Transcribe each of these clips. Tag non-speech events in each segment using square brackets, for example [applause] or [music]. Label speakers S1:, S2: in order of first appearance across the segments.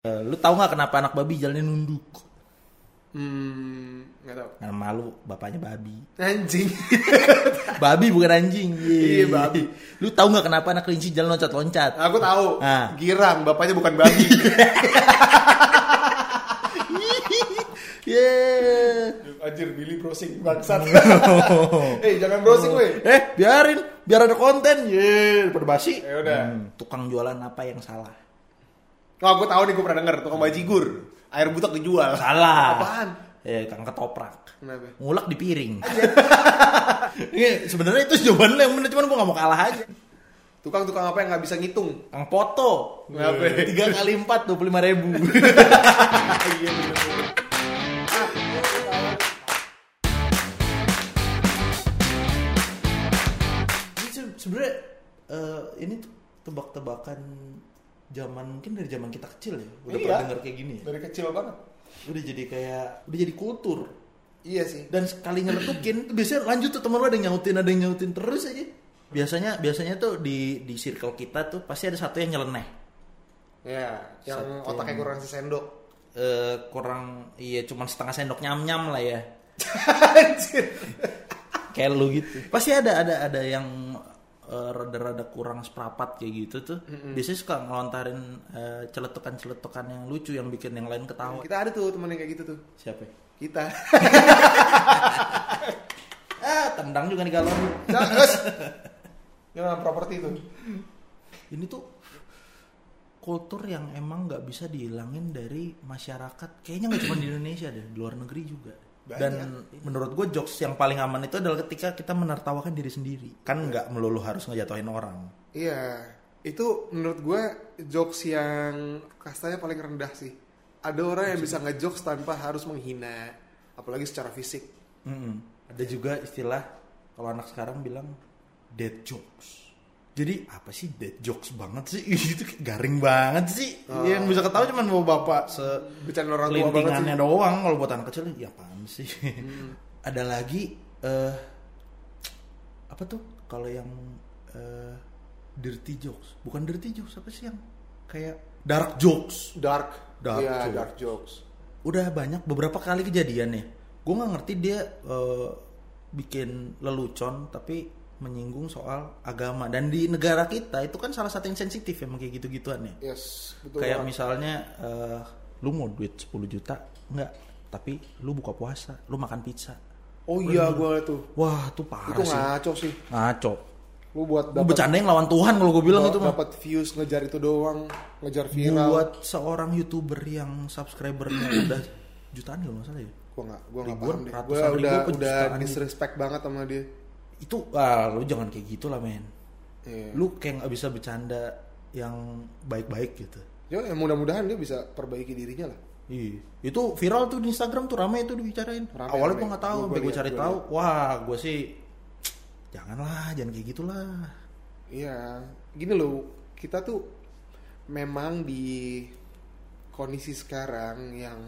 S1: Eh, lu tahu nggak kenapa anak babi jalannya nunduk?
S2: Hmm, nggak tahu.
S1: Karena malu bapaknya babi.
S2: Anjing. [laughs]
S1: babi bukan anjing.
S2: Iya, babi.
S1: Lu tahu nggak kenapa anak kelinci jalan
S2: [laughs]
S1: loncat-loncat?
S2: Aku tahu.
S1: Ah.
S2: Girang, bapaknya bukan [laughs] babi.
S1: Yeay.
S2: Anjir, Billy browsing bangsat. [laughs] eh, jangan browsing weh.
S1: eh, biarin, biar ada konten. Ye, daripada basi.
S2: Ya udah.
S1: Hmm, tukang jualan apa yang salah?
S2: Oh, aku tahu nih gue pernah denger tukang bajigur. Air butak dijual.
S1: Salah.
S2: Apaan?
S1: Eh, kang ketoprak.
S2: Kenapa?
S1: Ngulak di piring.
S2: Iya.
S1: [laughs] Ini sebenarnya itu jawabannya yang bener, cuman gua nggak mau kalah aja.
S2: Tukang-tukang apa yang nggak bisa [laughs] ngitung?
S1: Kang foto.
S2: Ngapa?
S1: Tiga kali empat dua puluh lima ribu.
S2: Iya bener.
S1: Ini se- sebenarnya eh, ini tuh tebak-tebakan zaman mungkin dari zaman kita kecil ya. Udah
S2: Iya.
S1: pernah denger kayak gini ya.
S2: Dari kecil banget.
S1: Udah jadi kayak udah jadi kultur.
S2: Iya sih.
S1: Dan sekali nyeletukin tuh biasanya lanjut tuh teman lu ada yang nyautin ada yang nyautin terus aja. Biasanya biasanya tuh di di circle kita tuh pasti ada satu yang nyeleneh.
S2: Ya, yang
S1: Satu.
S2: otaknya kurang sesendok.
S1: eh kurang iya cuman setengah sendok nyam nyam lah ya
S2: Anjir.
S1: kayak lu gitu pasti ada ada ada yang eh, rada-rada kurang seprapat kayak gitu tuh biasanya suka ngelontarin eh, celetukan-celetukan yang lucu yang bikin yang lain ketawa
S2: Kita ada tuh temen yang kayak gitu tuh.
S1: siapa ya?
S2: Kita. [laughs]
S1: ah tendang juga nih galon
S2: Nah, terus. Jangan properti itu.
S1: ini tuh kultur yang emang nggak bisa dihilangin dari masyarakat kayaknya nggak cuma di Indonesia deh di luar negeri juga dan menurut gue jokes yang paling aman itu adalah ketika kita menertawakan diri sendiri kan nggak melulu harus ngejatuhin orang
S2: Iya, itu menurut gue jokes yang kastanya paling rendah sih. Ada orang yang bisa ngejokes tanpa harus menghina, apalagi secara fisik.
S1: Mm-mm. Ada juga istilah kalau anak sekarang bilang dead jokes. Jadi apa sih dead jokes banget sih? [laughs] Itu kayak garing banget sih. Yang bisa ketahui cuma bawa bapak se
S2: Bercanda orang tua banget sih. Hmm.
S1: kelintingannya doang. Kalau buat anak kecil ya apaan sih? [laughs] Ada lagi eh apa tuh kalau yang eh, dirty jokes? Bukan dirty jokes apa sih yang kayak dark jokes?
S2: Dark,
S1: Dark
S2: Iya,
S1: jokes.
S2: dark jokes.
S1: udah banyak beberapa kali kejadian ya gue nggak ngerti dia eh, bikin lelucon tapi menyinggung soal agama dan di negara kita itu kan salah satu yang sensitif emang kayak gitu-gituan ya
S2: Yes, betul.
S1: kayak
S2: banget.
S1: misalnya eh, lu mau duit 10 juta nggak tapi lu buka puasa lu makan pizza
S2: oh iya, gue tuh.
S1: wah tuh
S2: Itu
S1: parah sih
S2: ngaco sih.
S1: ngaco
S2: Lu buat
S1: lu
S2: dapat
S1: bercandain lawan Tuhan kalau gue bilang itu mah
S2: dapat views ngejar itu doang, ngejar viral.
S1: buat seorang youtuber yang
S2: [clears throat]
S1: subscribernya udah jutaan kalau nggak salah ya
S2: Gue nggak, gue nggak
S1: Ribuan,
S2: paham deh. Gue
S1: ratusan ribu
S2: udah,
S1: apa
S2: udah
S1: jutaan
S2: disrespect banget sama dia.
S1: itu ah lu jangan kayak gitu lah men
S2: Iya.
S1: lu kayak nggak bisa bercanda yang baik-baik gitu
S2: Ya, ya, mudah-mudahan dia bisa perbaiki dirinya lah.
S1: Iya. Itu viral tuh di Instagram tuh ramai itu dibicarain.
S2: Ramai,
S1: Awalnya
S2: ramai.
S1: gue nggak tahu,
S2: Gua- gua
S1: sampai gue
S2: liat,
S1: cari
S2: gua
S1: tahu. Wah, gue sih janganlah, jangan kayak gitulah.
S2: Iya, gini loh, kita tuh memang di kondisi sekarang yang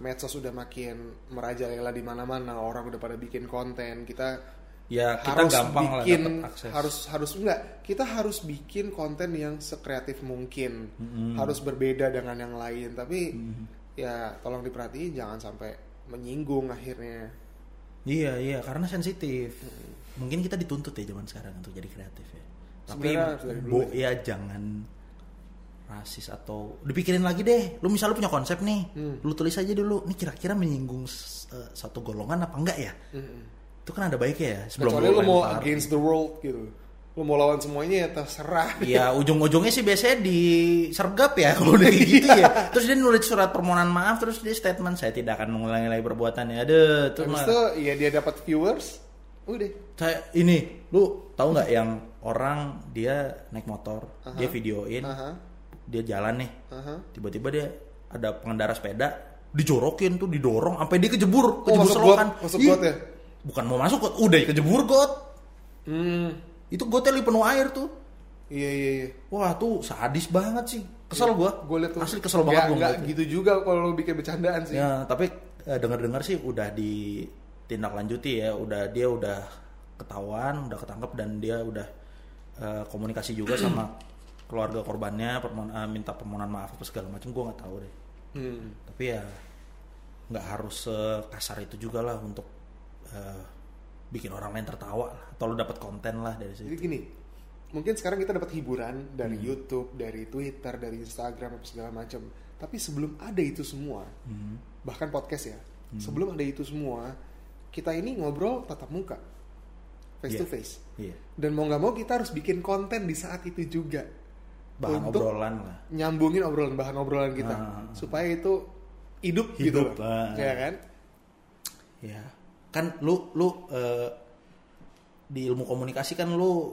S2: medsos sudah makin merajalela di mana-mana, orang udah pada bikin konten, kita
S1: Ya kita
S2: harus
S1: gampang
S2: bikin
S1: lah dapet akses.
S2: harus harus enggak, kita harus bikin konten yang sekreatif mungkin, harus berbeda dengan yang lain, tapi ya tolong diperhatiin jangan sampai menyinggung akhirnya.
S1: Iya iya, karena sensitif. Mungkin kita dituntut ya zaman sekarang untuk jadi kreatif ya. Tapi
S2: Sebenarnya harus dari dulu
S1: bo ya jangan rasis atau dipikirin lagi deh. Lu misalnya punya konsep nih,
S2: Hmm.
S1: lu tulis aja dulu. Ini kira-kira menyinggung s- eh, satu golongan apa enggak ya? Itu kan ada baiknya ya. Sebelum
S2: Hmm, Kecuali lu mau
S1: lempar.
S2: against the world gitu. Lu mau lawan semuanya ya terserah.
S1: Ya ujung-ujungnya sih biasanya disergap ya [laughs] kalau udah kayak gitu ya. Terus dia nulis surat permohonan maaf, terus dia statement saya tidak akan mengulangi lagi perbuatannya. Aduh, itu
S2: Habis
S1: mah.
S2: itu ya dia dapat viewers, udah.
S1: Saya ini, lu tahu nggak yang orang dia naik motor, dia videoin,
S2: Aha,
S1: dia jalan nih,
S2: aha.
S1: tiba-tiba dia ada pengendara sepeda dijorokin tuh didorong sampai dia kejebur,
S2: Oh,
S1: kejebur
S2: masuk
S1: selokan.
S2: got- masuk
S1: Ih,
S2: got ya?
S1: Bukan mau masuk got, udah kejebur got.
S2: Hmm,
S1: Itu gotnya li penuh air tuh.
S2: iya iya iya.
S1: Wah tuh sadis banget sih. Kesel gua.
S2: Gue Iya, liat tuh.
S1: Asli kesel banget
S2: Nggak-
S1: gua
S2: nggak
S1: ngeliatnya.
S2: gitu juga kalau lu bikin bercandaan sih.
S1: Ya, tapi eh, dengar-dengar sih udah ditindaklanjuti ya. Udah dia udah
S2: [clears throat]
S1: ketahuan, udah ketangkep dan dia udah eh, komunikasi juga sama keluarga korbannya permohon- eh, minta permohonan maaf apa segala macam gue nggak tahu deh
S2: Hmm.
S1: tapi ya nggak harus sekasar itu juga lah untuk eh, bikin orang lain tertawa lah. atau lu dapat konten lah dari situ
S2: Jadi gini, mungkin sekarang kita dapat hiburan dari
S1: Hmm.
S2: YouTube, dari Twitter, dari Instagram apa segala macam. Tapi sebelum ada itu semua,
S1: Hmm.
S2: bahkan podcast ya, sebelum ada itu semua, kita ini ngobrol tatap muka, face to
S1: Iya.
S2: face.
S1: iya
S2: Dan mau nggak mau kita harus bikin konten di saat itu juga
S1: bahan
S2: untuk
S1: obrolan lah
S2: nyambungin obrolan bahan obrolan kita,
S1: Ah.
S2: supaya itu hidup, gitu
S1: Hidup,
S2: loh,
S1: ah.
S2: ya kan?
S1: ya kan lu lu eh, di ilmu komunikasi kan lu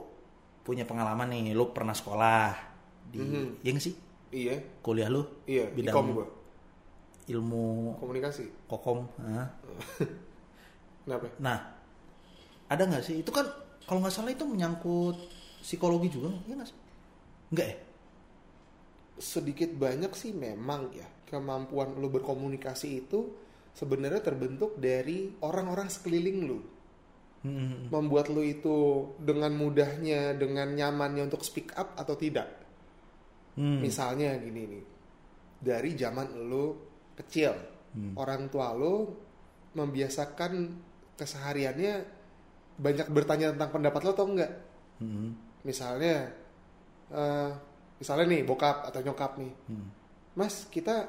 S1: punya pengalaman nih lu pernah sekolah di ya nggak sih
S2: Iya,
S1: kuliah lu
S2: iya.
S1: bidang
S2: Ikom gua,
S1: ilmu
S2: komunikasi.
S1: kokom Hah?
S2: Kenapa?
S1: nah ada nggak sih itu kan kalau nggak salah itu menyangkut psikologi juga ya nggak sih nggak ya
S2: sedikit banyak sih memang ya kemampuan lu berkomunikasi itu sebenarnya terbentuk dari orang-orang sekeliling lu
S1: Hmm.
S2: membuat lu itu dengan mudahnya dengan nyamannya untuk speak up atau tidak
S1: Hmm.
S2: misalnya gini nih dari zaman lu kecil orang tua lu membiasakan kesehariannya banyak bertanya tentang pendapat lo atau enggak
S1: Hmm.
S2: misalnya eh, misalnya nih bokap atau nyokap nih
S1: Hmm.
S2: Mas, kita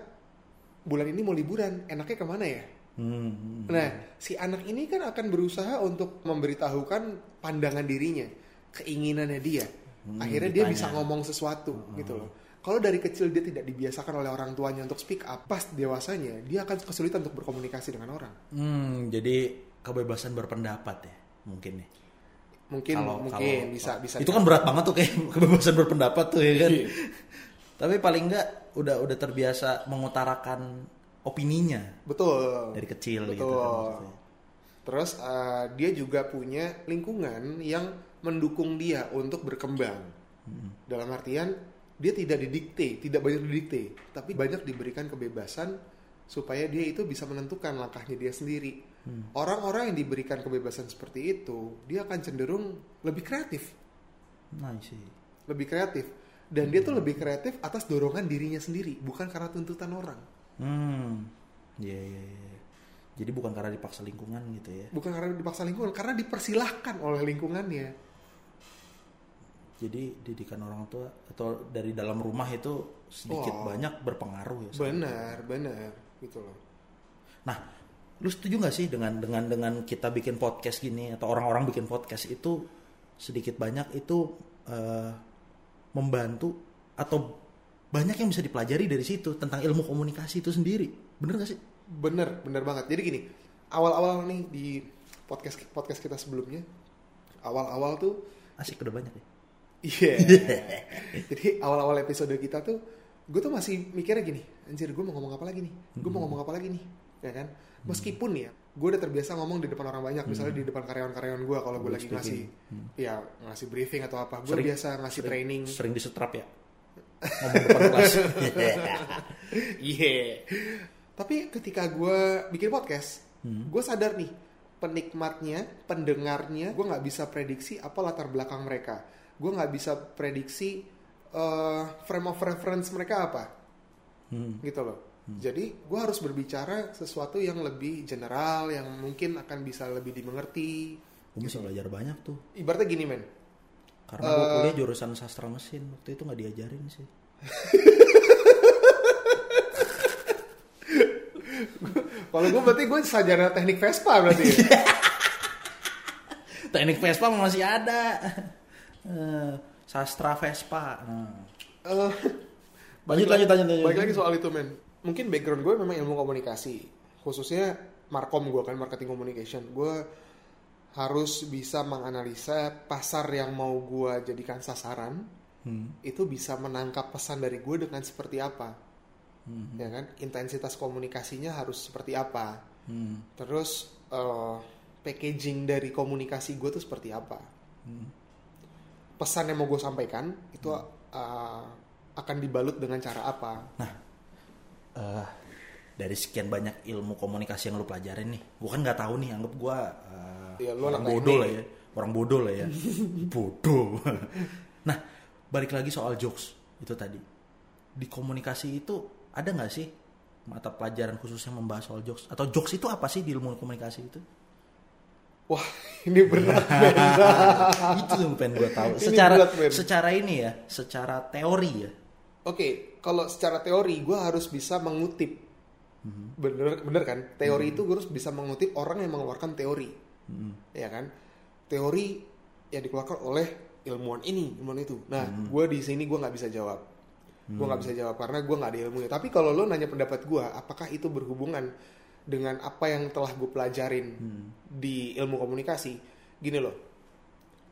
S2: bulan ini mau liburan, enaknya kemana ya?
S1: Hmm. Hmm.
S2: Nah, si anak ini kan akan berusaha untuk memberitahukan pandangan dirinya, keinginannya dia.
S1: Hmm,
S2: Akhirnya dia
S1: ditanya. Hmm.
S2: bisa ngomong sesuatu gitu loh. Kalau dari kecil dia tidak dibiasakan oleh orang tuanya untuk speak up, pas dewasanya dia akan kesulitan untuk berkomunikasi dengan orang.
S1: Hmm, jadi kebebasan berpendapat ya mungkin nih
S2: Mungkin mungkin bisa bisa.
S1: itu kan berat banget tuh kayak [laughs] kebebasan berpendapat tuh ya kan
S2: Iya.
S1: tapi paling enggak udah udah terbiasa mengutarakan opininya
S2: betul.
S1: dari kecil
S2: Betul.
S1: gitu kan maksudnya.
S2: Terus eh, dia juga punya lingkungan yang mendukung dia untuk berkembang. Dalam artian dia tidak didikte, tidak banyak didikte, tapi banyak diberikan kebebasan supaya dia itu bisa menentukan langkahnya dia sendiri. Orang-orang yang diberikan kebebasan seperti itu, dia akan cenderung lebih kreatif,
S1: nah sih
S2: lebih kreatif. Dan dia tuh lebih kreatif atas dorongan dirinya sendiri, bukan karena tuntutan orang,
S1: hmm iya iya iya. jadi bukan karena dipaksa lingkungan gitu ya
S2: bukan karena dipaksa lingkungan, karena dipersilahkan oleh lingkungannya.
S1: jadi didikan orang tua atau dari dalam rumah itu sedikit
S2: Wah.
S1: banyak berpengaruh ya
S2: Benar, benar, gitu loh.
S1: Nah, lu setuju nggak sih dengan dengan dengan kita bikin podcast gini atau orang-orang bikin podcast itu sedikit banyak itu eh, membantu atau banyak yang bisa dipelajari dari situ tentang ilmu komunikasi itu sendiri, bener gak sih?
S2: Bener, bener banget. Jadi gini, awal-awal nih di podcast podcast kita sebelumnya, awal-awal tuh, [laughs]
S1: Asik udah banyak ya.
S2: iya. Jadi awal-awal episode kita tuh, gue tuh masih mikirnya gini, anjir gue mau ngomong apa lagi nih? Gue mau ngomong apa lagi nih? Ya kan? Meskipun ya, gue udah terbiasa ngomong di depan orang banyak, misalnya di depan karyawan-karyawan gue kalau gue
S1: Public
S2: lagi ngasih,
S1: speaking. Mm.
S2: ya ngasih briefing atau apa, gue
S1: Sering-
S2: biasa ngasih training.
S1: Sering disetrap ya. Ngomong depan
S2: [laughs]
S1: kelas.
S2: Iya. Tapi ketika gue bikin podcast,
S1: Hmm.
S2: gue sadar nih penikmatnya, pendengarnya, gue nggak bisa prediksi apa latar belakang mereka. Gue nggak bisa prediksi eh, frame of reference mereka apa,
S1: Hmm.
S2: gitu loh. Jadi gue harus berbicara sesuatu yang lebih general, yang mungkin akan bisa lebih dimengerti.
S1: Gue mesti belajar banyak tuh.
S2: Ibaratnya gini men,
S1: Karena gue
S2: Eh,
S1: kuliah jurusan sastra mesin waktu itu nggak diajarin sih.
S2: kalau gue berarti gue sarjana teknik Vespa berarti.
S1: Iya.
S2: ya?
S1: Teknik Vespa masih ada. Eh, sastra Vespa. Nah.
S2: Eh,
S1: Lanjut,
S2: balik
S1: lanjut,
S2: lagi-
S1: lanjut, lanjut.
S2: Balik lagi soal itu, men. Mungkin background gue memang ilmu komunikasi. Khususnya markom gue kan, marketing communication. Gue harus bisa menganalisa pasar yang mau gue jadikan sasaran.
S1: Hmm.
S2: Itu bisa menangkap pesan dari gue dengan seperti apa. Ya kan? Intensitas komunikasinya harus seperti apa.
S1: Hmm.
S2: Terus eh, packaging dari komunikasi gue tuh seperti apa?
S1: Hmm.
S2: Pesan yang mau gue sampaikan itu eh, akan dibalut dengan cara apa?
S1: eh dari sekian banyak ilmu komunikasi yang lu pelajarin nih, gua kan nggak tahu nih, anggap gua eh,
S2: Iya, lu
S1: orang
S2: anak
S1: bodoh lah
S2: [laughs]
S1: ya, orang bodoh lah ya, bodoh. nah, balik lagi soal jokes, itu tadi di komunikasi itu ada nggak sih mata pelajaran khusus yang membahas soal jokes atau jokes itu apa sih di ilmu komunikasi itu
S2: Wah, [laughs] ini berat Benza.
S1: Ah, itu yang pengen gue tahu
S2: Ini
S1: secara
S2: berat, Ben.
S1: secara ini ya secara teori ya
S2: Oke, kalau secara teori gue harus bisa mengutip. Bener, bener kan? Teori itu gue harus bisa mengutip orang yang mengeluarkan teori.
S1: Hmm,
S2: Ya kan? Teori yang dikeluarkan oleh ilmuwan ini, ilmuwan itu. Nah, gue di sini gue nggak bisa jawab. Gue nggak bisa jawab karena gue nggak ada ilmunya. Tapi kalau lo nanya pendapat gue, apakah itu berhubungan dengan apa yang telah gue pelajarin
S1: hmm,
S2: di ilmu komunikasi? Gini loh,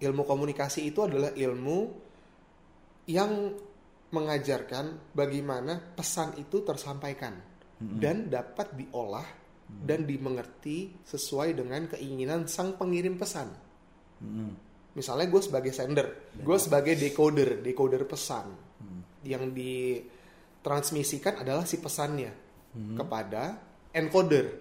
S2: ilmu komunikasi itu adalah ilmu yang mengajarkan bagaimana pesan itu tersampaikan dan dapat diolah dan dimengerti sesuai dengan keinginan sang pengirim pesan.
S1: Mm-mm.
S2: Misalnya gue sebagai sender, gue sebagai decoder, decoder pesan yang ditransmisikan adalah si pesannya kepada encoder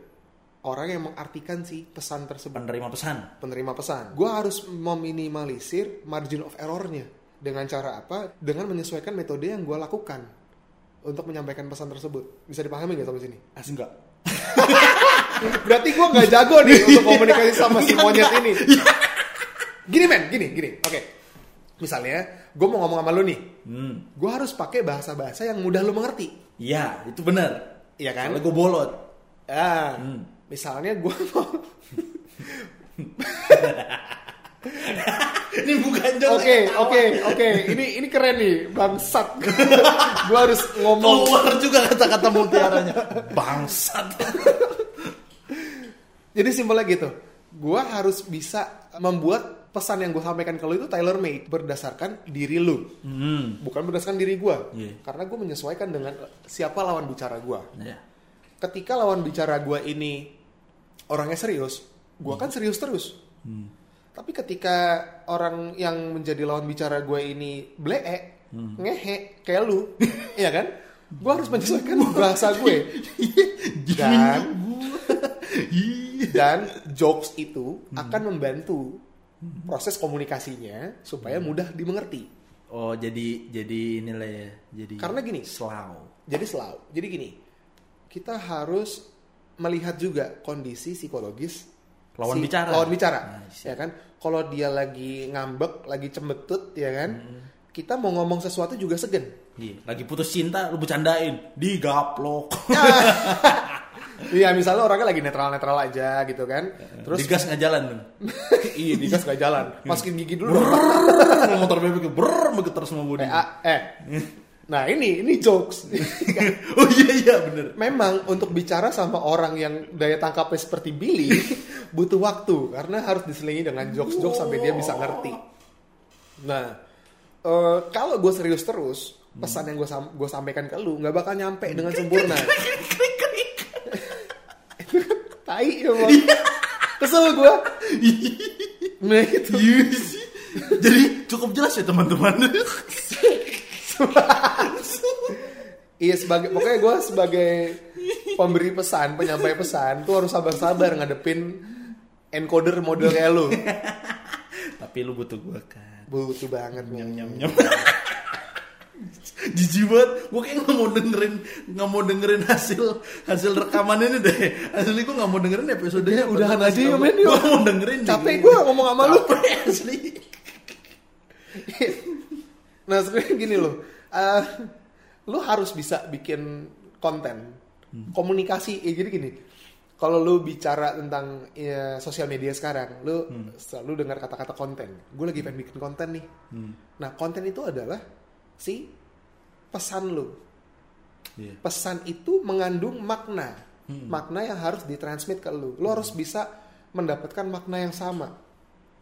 S2: orang yang mengartikan si pesan tersebut
S1: penerima pesan
S2: penerima pesan. Gue harus meminimalisir margin of errornya dengan cara apa? Dengan menyesuaikan metode yang gue lakukan untuk menyampaikan pesan tersebut. Bisa dipahami nggak sampai sini?
S1: asli enggak
S2: Berarti gue nggak jago
S1: [laughs]
S2: nih untuk komunikasi sama
S1: Iya.
S2: si monyet ini. Gini men, gini, gini. Oke, misalnya gue mau ngomong sama lu nih,
S1: hmm
S2: gue harus pakai bahasa-bahasa yang mudah lu mengerti,
S1: iya itu benar
S2: Iya kan?
S1: Soalnya gue bolot
S2: Ah,
S1: Hmm.
S2: misalnya gue
S1: [laughs]
S2: mau
S1: ini bukan jokes
S2: Oke, oke, oke. Ini ini keren nih, bangsat.
S1: [laughs]
S2: gue harus ngomong.
S1: keluar juga kata-kata mutiaranya [laughs] bangsat
S2: Jadi simpelnya gitu. Gua harus bisa membuat pesan yang gue sampaikan ke lu itu tailor made berdasarkan diri lu,
S1: hmm
S2: bukan berdasarkan diri gua.
S1: Iya.
S2: Karena gue menyesuaikan dengan siapa lawan bicara gua.
S1: ya
S2: Ketika lawan bicara gua ini orangnya serius, gua kan serius terus. Tapi ketika orang yang menjadi lawan bicara gua ini bleek, ngehe kayak lu, [laughs] iya kan? Gue harus menyesuaikan bahasa gue. Dan dan jokes itu akan membantu proses komunikasinya supaya mudah dimengerti.
S1: oh jadi jadi inilah ya jadi
S2: Karena gini.
S1: slow
S2: Jadi selalu, jadi gini, kita harus melihat juga kondisi psikologis
S1: Lawan bicara.
S2: lawan bicara,
S1: Nah, siap.
S2: ya kan? Kalau dia lagi ngambek, lagi cembetut, ya kan?
S1: Hmm.
S2: Kita mau ngomong sesuatu juga segan.
S1: Iya, lagi putus cinta lu bercandain digaplok
S2: Iya, misalnya orangnya lagi netral-netral aja gitu kan.
S1: Eh,
S2: Terus
S1: digas nggak jalan
S2: [laughs]
S1: lu.
S2: iya, digas gak jalan. Masukin gigi dulu.
S1: [laughs] Brrrr, motor bebek brrrr, begitu terus mau bodi.
S2: PA, eh. Nah, ini ini jokes.
S1: [laughs] oh ah, iya iya bener.
S2: Memang untuk bicara sama orang yang daya tangkapnya seperti Billy [laughs] butuh waktu karena harus diselingi dengan jokes-jokes sampai dia bisa ngerti. Nah, eh, kalau gue serius terus pesan yang gue gue sampaikan ke lu nggak bakal nyampe dengan
S1: [laughs]
S2: sempurna. Tai emang. Kesel gue. Nah itu.
S1: Iya. Jadi cukup jelas ya teman-teman.
S2: [laughs] Iya sebagai pokoknya gue sebagai pemberi pesan, penyampai pesan tuh harus sabar-sabar ngadepin encoder model kayak lu.
S1: Tapi lu butuh gua kan.
S2: Butuh banget nyam nyam
S1: Nyam. [laughs] Jijik banget, gue kayak nggak mau dengerin nggak mau dengerin hasil hasil rekaman ini deh. Asli gue nggak mau dengerin episodenya.
S2: Ya, udahan aja yuk, men, yuk.
S1: Gue mau dengerin. deh.
S2: Capek gue ngomong sama lu. [laughs]
S1: Capek, asli.
S2: Nah sebenarnya gini loh, eh, lu harus bisa bikin konten, komunikasi. Ya, jadi gini, kalau lu bicara tentang ya, sosial media sekarang, lu selalu dengar kata-kata konten. Gue lagi pengen bikin konten nih.
S1: Hmm,
S2: Nah konten itu adalah si pesan lu.
S1: Iya.
S2: Pesan itu mengandung makna, makna yang harus ditransmit ke lu. Lu harus bisa mendapatkan makna yang sama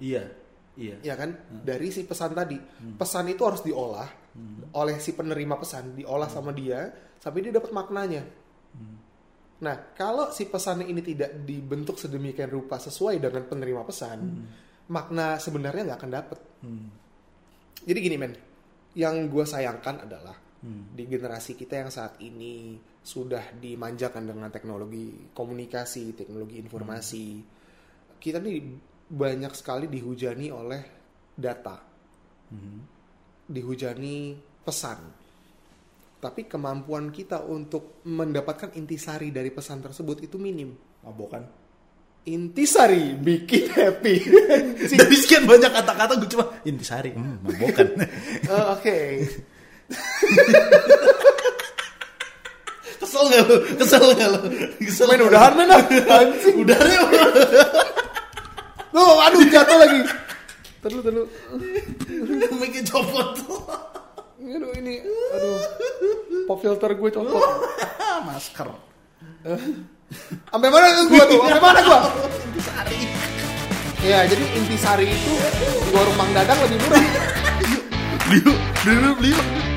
S1: Iya, iya.
S2: ya kan dari si pesan tadi pesan itu harus diolah oleh si penerima pesan diolah sama dia sampai dia dapat maknanya nah kalau si pesan ini tidak dibentuk sedemikian rupa sesuai dengan penerima pesan makna sebenarnya nggak akan dapat
S1: Hmm.
S2: jadi gini men yang gue sayangkan adalah
S1: Hmm.
S2: di generasi kita yang saat ini sudah dimanjakan dengan teknologi komunikasi teknologi informasi kita nih banyak sekali dihujani oleh data
S1: Hmm.
S2: dihujani pesan tapi kemampuan kita untuk mendapatkan intisari dari pesan tersebut itu minim.
S1: Mabokan.
S2: Intisari bikin happy. [laughs] Anjing.
S1: Dari sekian banyak kata-kata gue cuma intisari, hmm, mabokan.
S2: Oh, Oke.
S1: [laughs] Kesel gak lo? Kesel gak lo? Kesel
S2: Men
S1: nggak lu?
S2: udahan men ah. anjing.
S1: Udah deh.
S2: Tuh, aduh jatuh lagi. Terus terus.
S1: Mikir copot tuh.
S2: Aduh ini. Aduh. Pop filter gue copot.
S1: Ah, Masker.
S2: Sampai mana tuh gue tuh? Sampai mana gue?
S1: Intisari.
S2: Ya, jadi intisari itu di warung Mang Dadang lebih murah.
S1: Beliau, beliau, beliau.